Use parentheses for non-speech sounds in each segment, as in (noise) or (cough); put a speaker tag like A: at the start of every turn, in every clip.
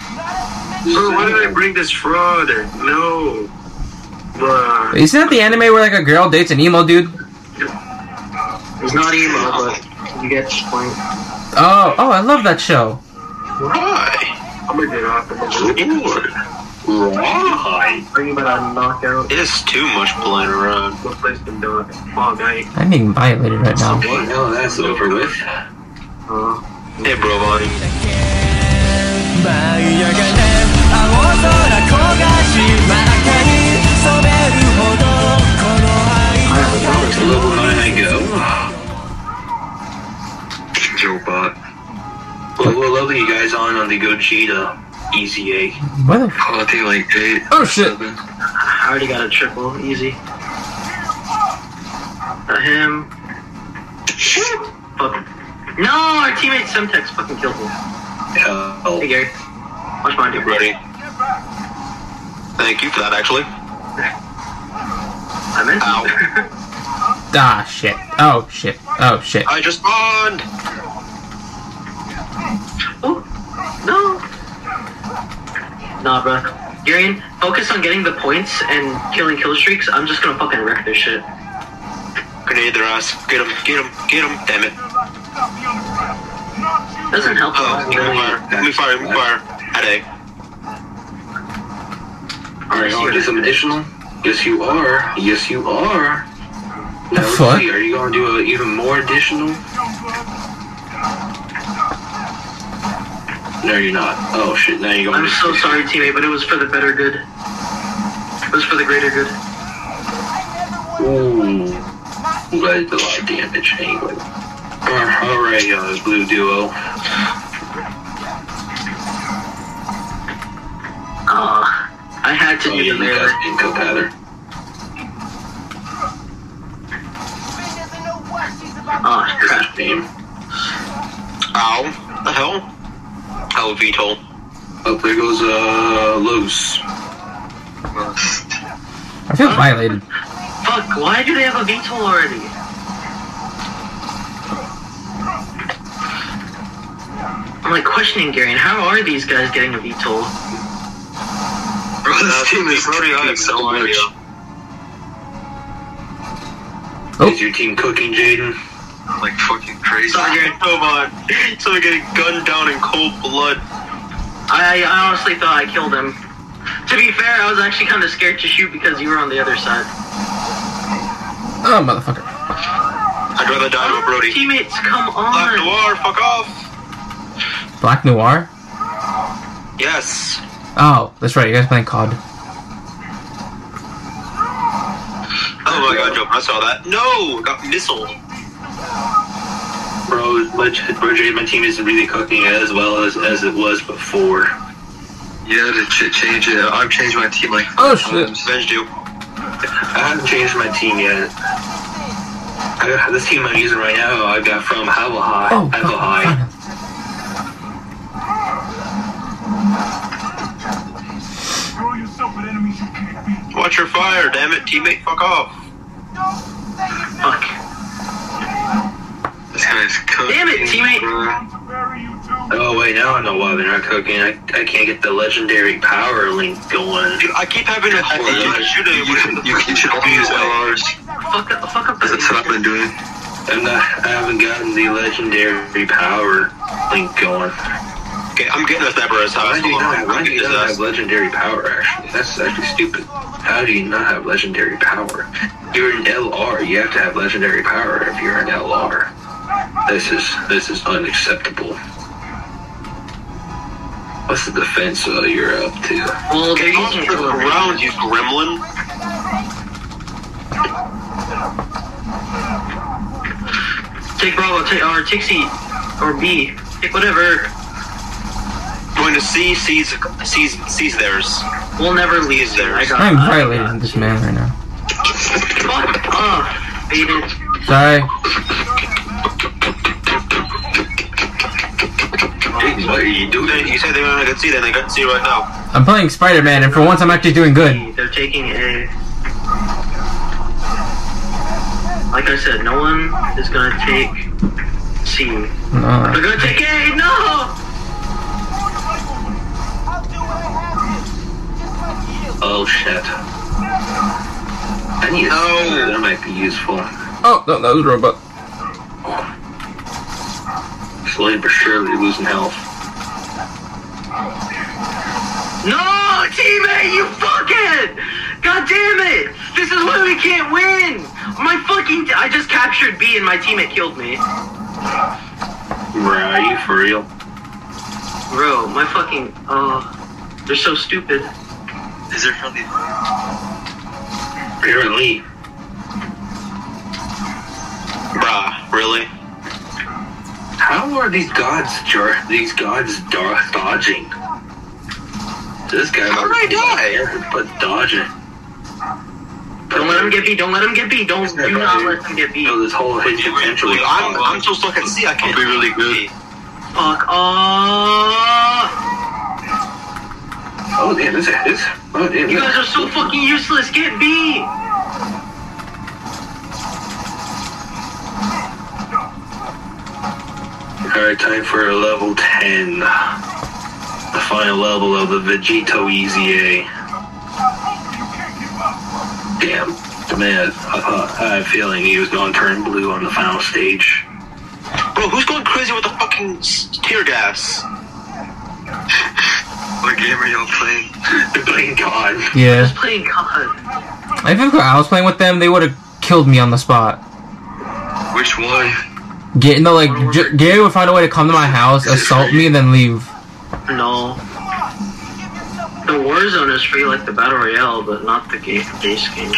A: Bro, Oh, why did I bring this fraud? No. Bruh.
B: Isn't that the anime where like a girl dates an emo dude?
A: It's not emo, but you get the point.
B: Oh, oh, I love that show.
C: Why?
A: I'm gonna get off. I'm gonna get
C: Ooh.
A: off. Bring about a knockout.
C: It is too much blood around.
A: We'll play some dog all night.
B: I'm being violated right now.
D: Well, now that's over with.
A: Uh,
C: Hey, bro, buddy.
E: 舞い上がれ青空焦がしまだかに染めるほどこの
D: To level 9 I go.
C: Joe Bot.
D: Well, what level you guys on on the Gogeta EZA?
B: What the f-
C: Oh, I think like eight.
B: Oh shit!
A: I already got a triple, easy. Uh, him. Fuck. No, our teammate Semtex fucking killed me. Hey,
D: Hell.
A: Gary. Watch my dude.
C: Ready? Thank you for that, actually.
A: I meant (laughs)
C: Ow.
B: Ah shit! Oh shit! Oh shit!
C: I just spawned!
A: Oh, no. Nah, bruh. Garion, focus on getting the points and killing kill streaks. I'm just gonna fucking wreck this shit.
C: Grenade their ass. Get him, get him, get him, damn it.
A: Doesn't help. a
C: Oh,
A: lot,
C: let me
A: really.
C: fire, let me fire, let me fire. At A.
D: Are you going to do some additional? Yes, you are. Yes, you are. Now, let's
B: fuck?
D: see, are you going to do a, even more additional? No, you're not. Oh, shit, now you're going
A: I'm
D: to...
A: so sorry, teammate, but it was for the better good. It was for the greater good.
D: Ooh. That did a lot of damage anyway. Uh, Alright, uh, Blue Duo.
A: Ah, I had to
D: Oh,
A: do
D: yeah, you
A: the
D: guys
A: mirror.
D: been co-pattern.
A: Ah, crap.
D: Name.
C: Ow. The hell? Oh, VTOL.
D: Up Oh, there goes, uh, Los.
B: I feel violated.
A: Fuck, why do they have a VTOL already? I'm like questioning Gary, and how are these guys getting a VTOL?
C: Bro,
D: this team is cooking so much.
B: Oh.
D: Is your team cooking, Jaden?
C: Like fucking crazy.
A: Sorry, Gary.
C: Come on. So we getting gunned down in cold blood.
A: I, I honestly thought I killed him. To be fair, I was actually kind of scared to shoot because you were on the other side.
B: Oh motherfucker!
C: I'd rather die to a Brody.
A: Teammates, come
C: Black
A: on!
C: Noir, fuck off!
B: Black Noir.
C: Yes.
B: Oh, that's right. You guys playing COD?
C: Oh my god, Joe, I saw that. No! Got missile.
D: Bro, my, bro, Jaden, my team isn't really cooking as well as, as it was before.
C: Yeah, to ch- change it. I've changed my team like
B: Oh shit!
C: Avenged you.
D: I haven't changed my team yet. I got, this team I'm using right now, I got from Havel High.
B: Oh, fuck,
D: Havel High.
B: fuck.
F: Throw yourself at enemies you can't beat.
C: Watch your fire, damn it, teammate, fuck off.
A: Fuck.
C: This guy's cooking.
A: Damn it, teammate.
C: bruh.
F: To bury you too.
D: Oh, wait, now I know why they're not cooking. I, I can't get the legendary power link going.
C: Dude, I keep having to
D: think you should-
C: shoot him. You, you, should only use LRs.
A: Fuck up, fuck up.
C: been doing.
D: I'm not, I haven't gotten the legendary power link going.
C: Okay, I'm getting this Deborah's house.
D: Why do you
C: Hold
D: not,
C: on.
D: have, why
C: I'm
D: do you
C: getting
D: not have
C: this ass.
D: legendary power, actually? That's actually stupid. How do you not have legendary power? You're an LR. You have to have legendary power if you're an LR. This is this is unacceptable. What's the defense uh, you're up to?
A: Well, they're
C: Get off
A: using
C: the
A: it for a
C: ground, you gremlin.
A: Take Bravo, take or Tixie, or B, take whatever.
C: Going to C, C's, C's, C's theirs.
A: We'll never lose
C: Is
A: there.
C: there-
A: I got.
B: I'm
A: I
B: violated
A: got-
B: in this man right now.
A: Fuck off, Aiden.
B: Sorry.
D: Jaden, what are you
C: Then
D: doing?
C: You said they were in a good C, then they got C right now.
B: I'm playing Spider-Man, and for once, I'm actually doing good.
A: They're taking a. Like I said, no one is gonna take C.
B: No.
A: They're gonna take A. No.
D: Oh shit. I need a
C: No.
D: that might be useful.
B: Oh, no, that was a robot.
D: Slowly but surely losing health.
A: No, teammate, you fucking! God damn it! This is why we can't win! My fucking. I just captured B and my teammate killed me.
D: Bro, are you for real?
A: Bro, my fucking. Oh. They're so stupid.
C: Is there really?
D: Apparently.
C: Bruh, really?
D: How are these gods, Jar? These gods do- dodging? This guy.
C: How did I die?
D: But dodging.
A: Don't let him get B, don't let him get B, don't. Do not let them get B.
D: No, this whole his potential. is
C: I'm,
D: gone.
C: I'm so stuck at sea, I can't.
D: I'll be really good.
A: Fuck off!
D: Oh damn, this is. Oh damn.
A: You
D: this-
A: guys are so fucking useless, get B!
D: Alright, time for level 10. The final level of the Vegito EZA. Damn. Man, I, thought- I had a feeling he was going to turn blue on the final stage. (laughs)
C: Bro, who's going crazy with the fucking s-
D: (laughs)
C: tear gas? what game are y'all playing?
D: Thank God.
B: Yeah.
A: Playing COD.
B: I think if I was playing with them, they would have killed me on the spot.
C: Which one?
B: Get no, like J- Gary would find a way to come to my house, assault me, and then leave.
A: No. The Warzone is free like the Battle Royale, but not the game, base game.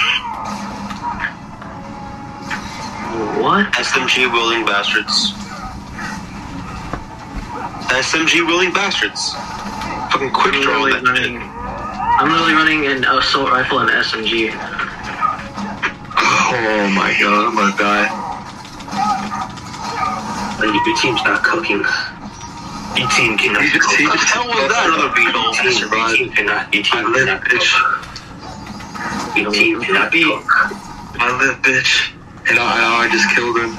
A: What?
C: SMG willing bastards. SMG willing bastards. Fucking quick
A: I'm
C: draw
A: literally
C: that
A: running.
C: shit.
A: I'm literally running an assault rifle and SMG.
D: Oh my God, I'm gonna die. Your team's not cooking. Your team cannot cook.
C: What the hell was that? Another beetle.
D: Your team, your team cannot. Your team cannot cook. Your team cannot cook.
C: I live, bitch.
D: And I, and I just killed him.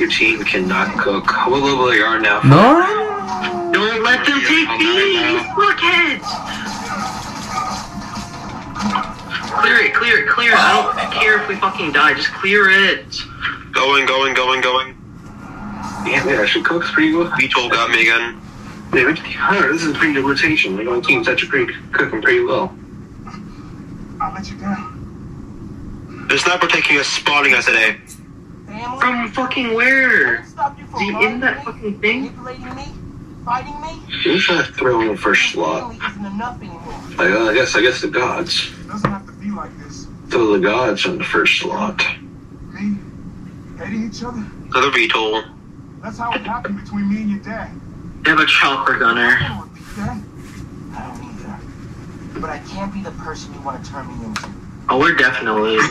D: Your team cannot cook. What level they are now?
B: No.
A: Don't let them take
D: I'm
A: me, you
D: not
A: fuckheads! Clear it, clear it, clear it. I don't care if we fucking die. Just clear it.
C: Going, going, going, going.
D: Damn it, I should cook. It's pretty good.
C: Beetle got me again.
D: Damn it. Huh, this is pretty good rotation. Like, my team's actually pretty, cooking pretty well.
F: I let you down.
C: The sniper taking us, spawning us today.
A: From fucking where?
G: Stop you from
A: Is he in that
G: bothering me,
A: fucking thing?
G: manipulating me, fighting me.
D: Who should I throw in first
G: Really
D: slot?
G: isn't enough anymore.
D: Like, uh, I guess, I guess the gods.
F: It doesn't have to be like this.
D: Throw the gods in the first slot.
F: Me, hating each other.
C: Another beetle.
F: That's how it happened between me and your dad.
A: They have a chopper gunner.
F: I don't repeat that.
G: I don't either. But I can't be the person you want to turn me into.
A: Oh, we're definitely.
H: my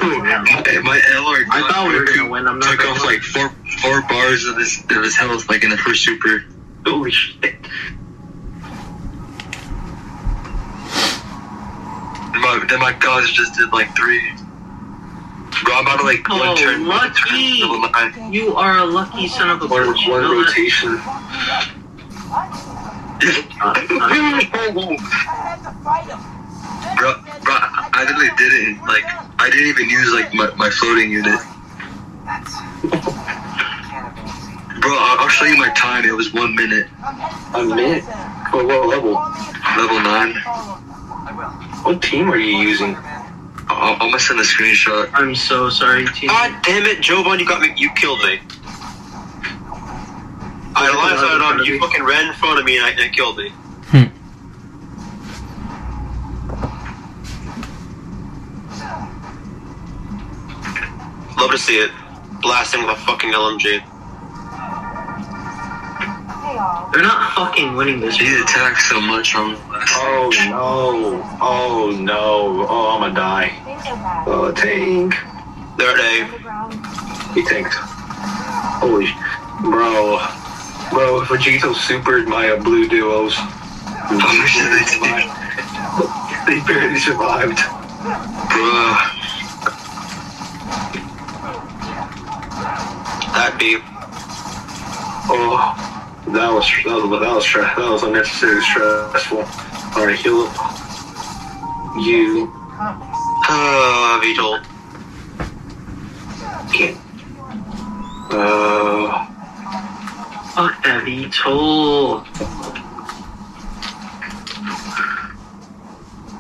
H: LR
A: I thought we were gonna win. I'm not
H: took
A: gonna
H: off like four four bars of his of his health like in the first super.
D: Holy shit.
H: And my, then my gods just did like three. Bro, I'm out of like one
A: Oh,
H: turn. one turn,
A: lucky.
H: level nine.
A: You are a lucky son of a
D: One,
A: bitch. You
D: one
A: know that?
D: rotation.
G: I had to fight him.
H: Bro, bro, I literally didn't like. I didn't even use like my, my floating unit.
G: That's kind of easy.
H: Bro, I'll, I'll show you my time. It was one minute,
G: I'm headed to
D: A
G: the
D: minute.
G: science center.
D: What, what level?
G: Call me if
H: level nine.
G: you follow him. I
D: What team are you
G: will.
D: using?
G: Spider-Man.
H: I'll, I'm gonna send a screenshot.
A: I'm so sorry, team.
C: God damn it, Jovan, you got me. You killed me. I line sided on you. Fucking ran in front of me and, I, and it killed me.
B: Hmm.
C: Love to see it. Blasting with a fucking LMG.
G: Hey, all.
A: They're not fucking winning this.
H: These attacks so much on the last.
D: Oh no. Oh no. Oh, I'm gonna die.
G: Things are bad.
D: Oh, tank.
C: There they.
G: Underground.
D: He tanked. Holy, sh- bro, bro, Vegito supered my blue duos.
H: Oh, shit, they did.
D: They barely survived.
H: Bro,
C: That be.
D: Oh, that was that was that was stre- that was unnecessarily stressful. All right, heal up. you
C: Uh, Vitold.
D: can't. Uh,
A: Fuck that VTOL.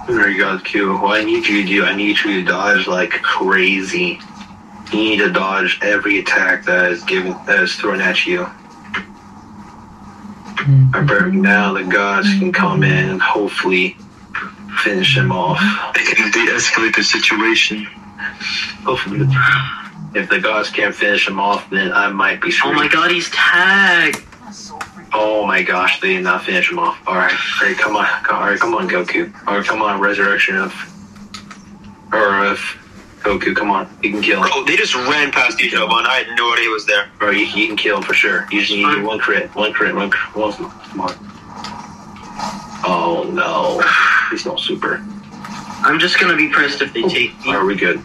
D: there you go, Q. What I need you to do, I need you to dodge like crazy. You need to dodge every attack that is given, that is thrown at you. I burn now the gods can come in and hopefully finish him off.
H: They can de-escalate the situation.
D: Hopefully, if the gods can't finish him off, then I might be
A: Oh
D: screwed.
A: my god, he's tagged.
D: Oh my gosh, they did not finish him off. All right, all right, come on, come, all right, come on, Goku. All right, come on, Resurrection of, or of Goku. Come on, you can kill him.
C: Oh, they just ran past you, Jovan. I had no idea he was there.
D: Bro, you, you can kill him for sure. You just need one crit, one crit, one crit, one. Come on. Oh no, he's not super.
A: I'm just gonna be pressed if they take me.
D: Are we good?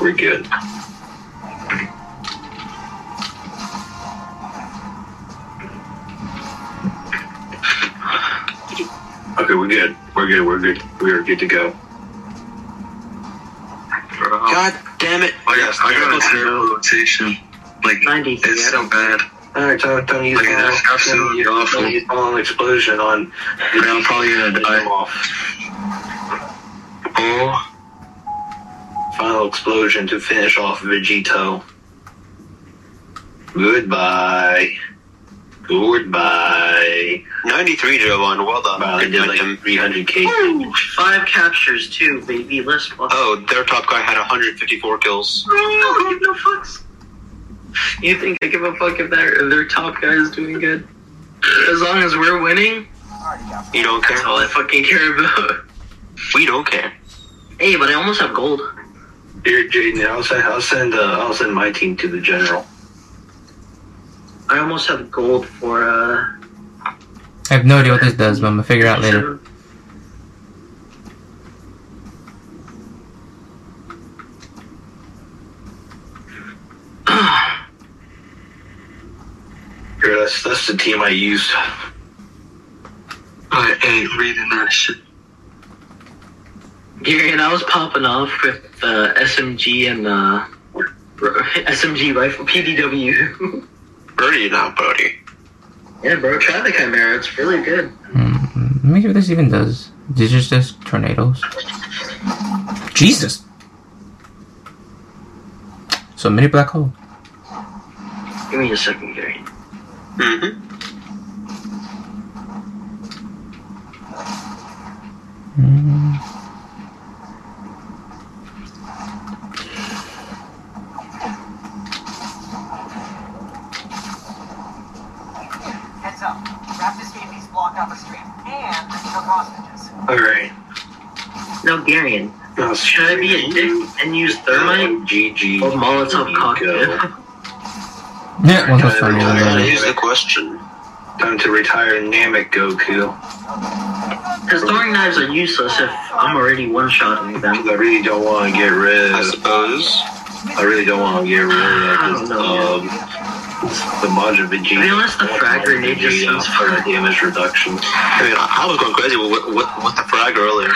D: We're good. Okay, we're good. We're good. We're good. We are good to go.
H: Bro, I
C: God damn it.
D: Oh,
H: got, I got a terrible rotation. Like,
A: 90.
H: it's so bad.
D: All right, Tony. Tony's
H: Like, that's absolutely awful.
D: Tony's on explosion on.
H: And I'm probably gonna
D: I'm
H: die.
D: off.
H: Oh,
D: Final explosion to finish off Vegito. Goodbye. Goodbye.
C: 93, Jovan. Well done.
D: Wow, they
C: Good
D: did
C: on
D: like
C: him.
D: 300k.
A: Five captures too, baby. Let's fuck.
C: Oh, their top guy had 154 kills.
A: I don't give no fucks. You think I give a fuck if their if their top guy is doing good? As long as we're winning,
C: You don't care?
A: that's all I fucking care about.
C: We don't care.
A: Hey, but I almost have gold.
D: Here, Jaden, I'll send, I'll send, uh, I'll send my team to the general.
A: I almost have gold for uh.
B: I have no idea what this does, but I'm gonna figure it out later.
D: Here, that's that's the team I used.
H: I ain't reading that shit.
A: Gary and I was popping off with uh, SMG and uh, (laughs) r- SMG rifle PDW.
C: Brody now, Brody.
A: (laughs) yeah, bro, try the Chimera. It's really good.
B: Hmm, Let me see what this even does. Is this just tornadoes? Jesus! So many black hole.
A: Give me a second, Gary.
C: Mm-hmm.
B: Hmm.
G: Heads up. Raptors gave these blocked off the street and they took hostages.
D: All right.
A: No, Garian.
D: Now,
A: Should I be a dick and use thermite
D: GG.
A: or Molotov
D: You
A: cocktail? (laughs)
D: go.
B: Yeah, one goes
D: Time to
B: funny. one
D: retire.
B: goes-
C: Here's the question.
D: Time to retire Namek Goku.
A: Because throwing knives are useless if I'm already one shotting them.
D: I really don't want to get rid
C: I
D: of.
C: suppose.
D: I really don't want to get rid of this,
A: I don't know,
D: um, the Majin Vegeta.
A: To be honest, the frag grenade just
D: Vegeta
A: seems
D: for the damage reduction.
C: I mean, I, I was going crazy with, with, with the frag earlier.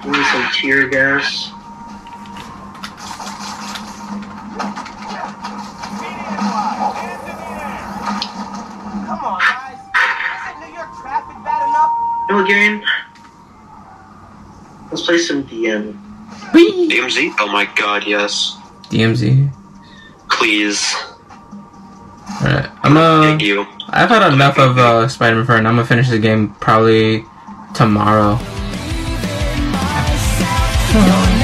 A: Give me some tear gas.
G: Come on, guys. Isn't New York traffic bad enough?
A: No, Garian. Let's play some DM.
C: DMZ? Oh my god, yes.
B: DMZ.
C: Please.
B: Alright, I'm uh,
C: Thank you.
B: I've had enough of uh, Spider-Man for now. I'm gonna finish the game probably tomorrow.
E: myself.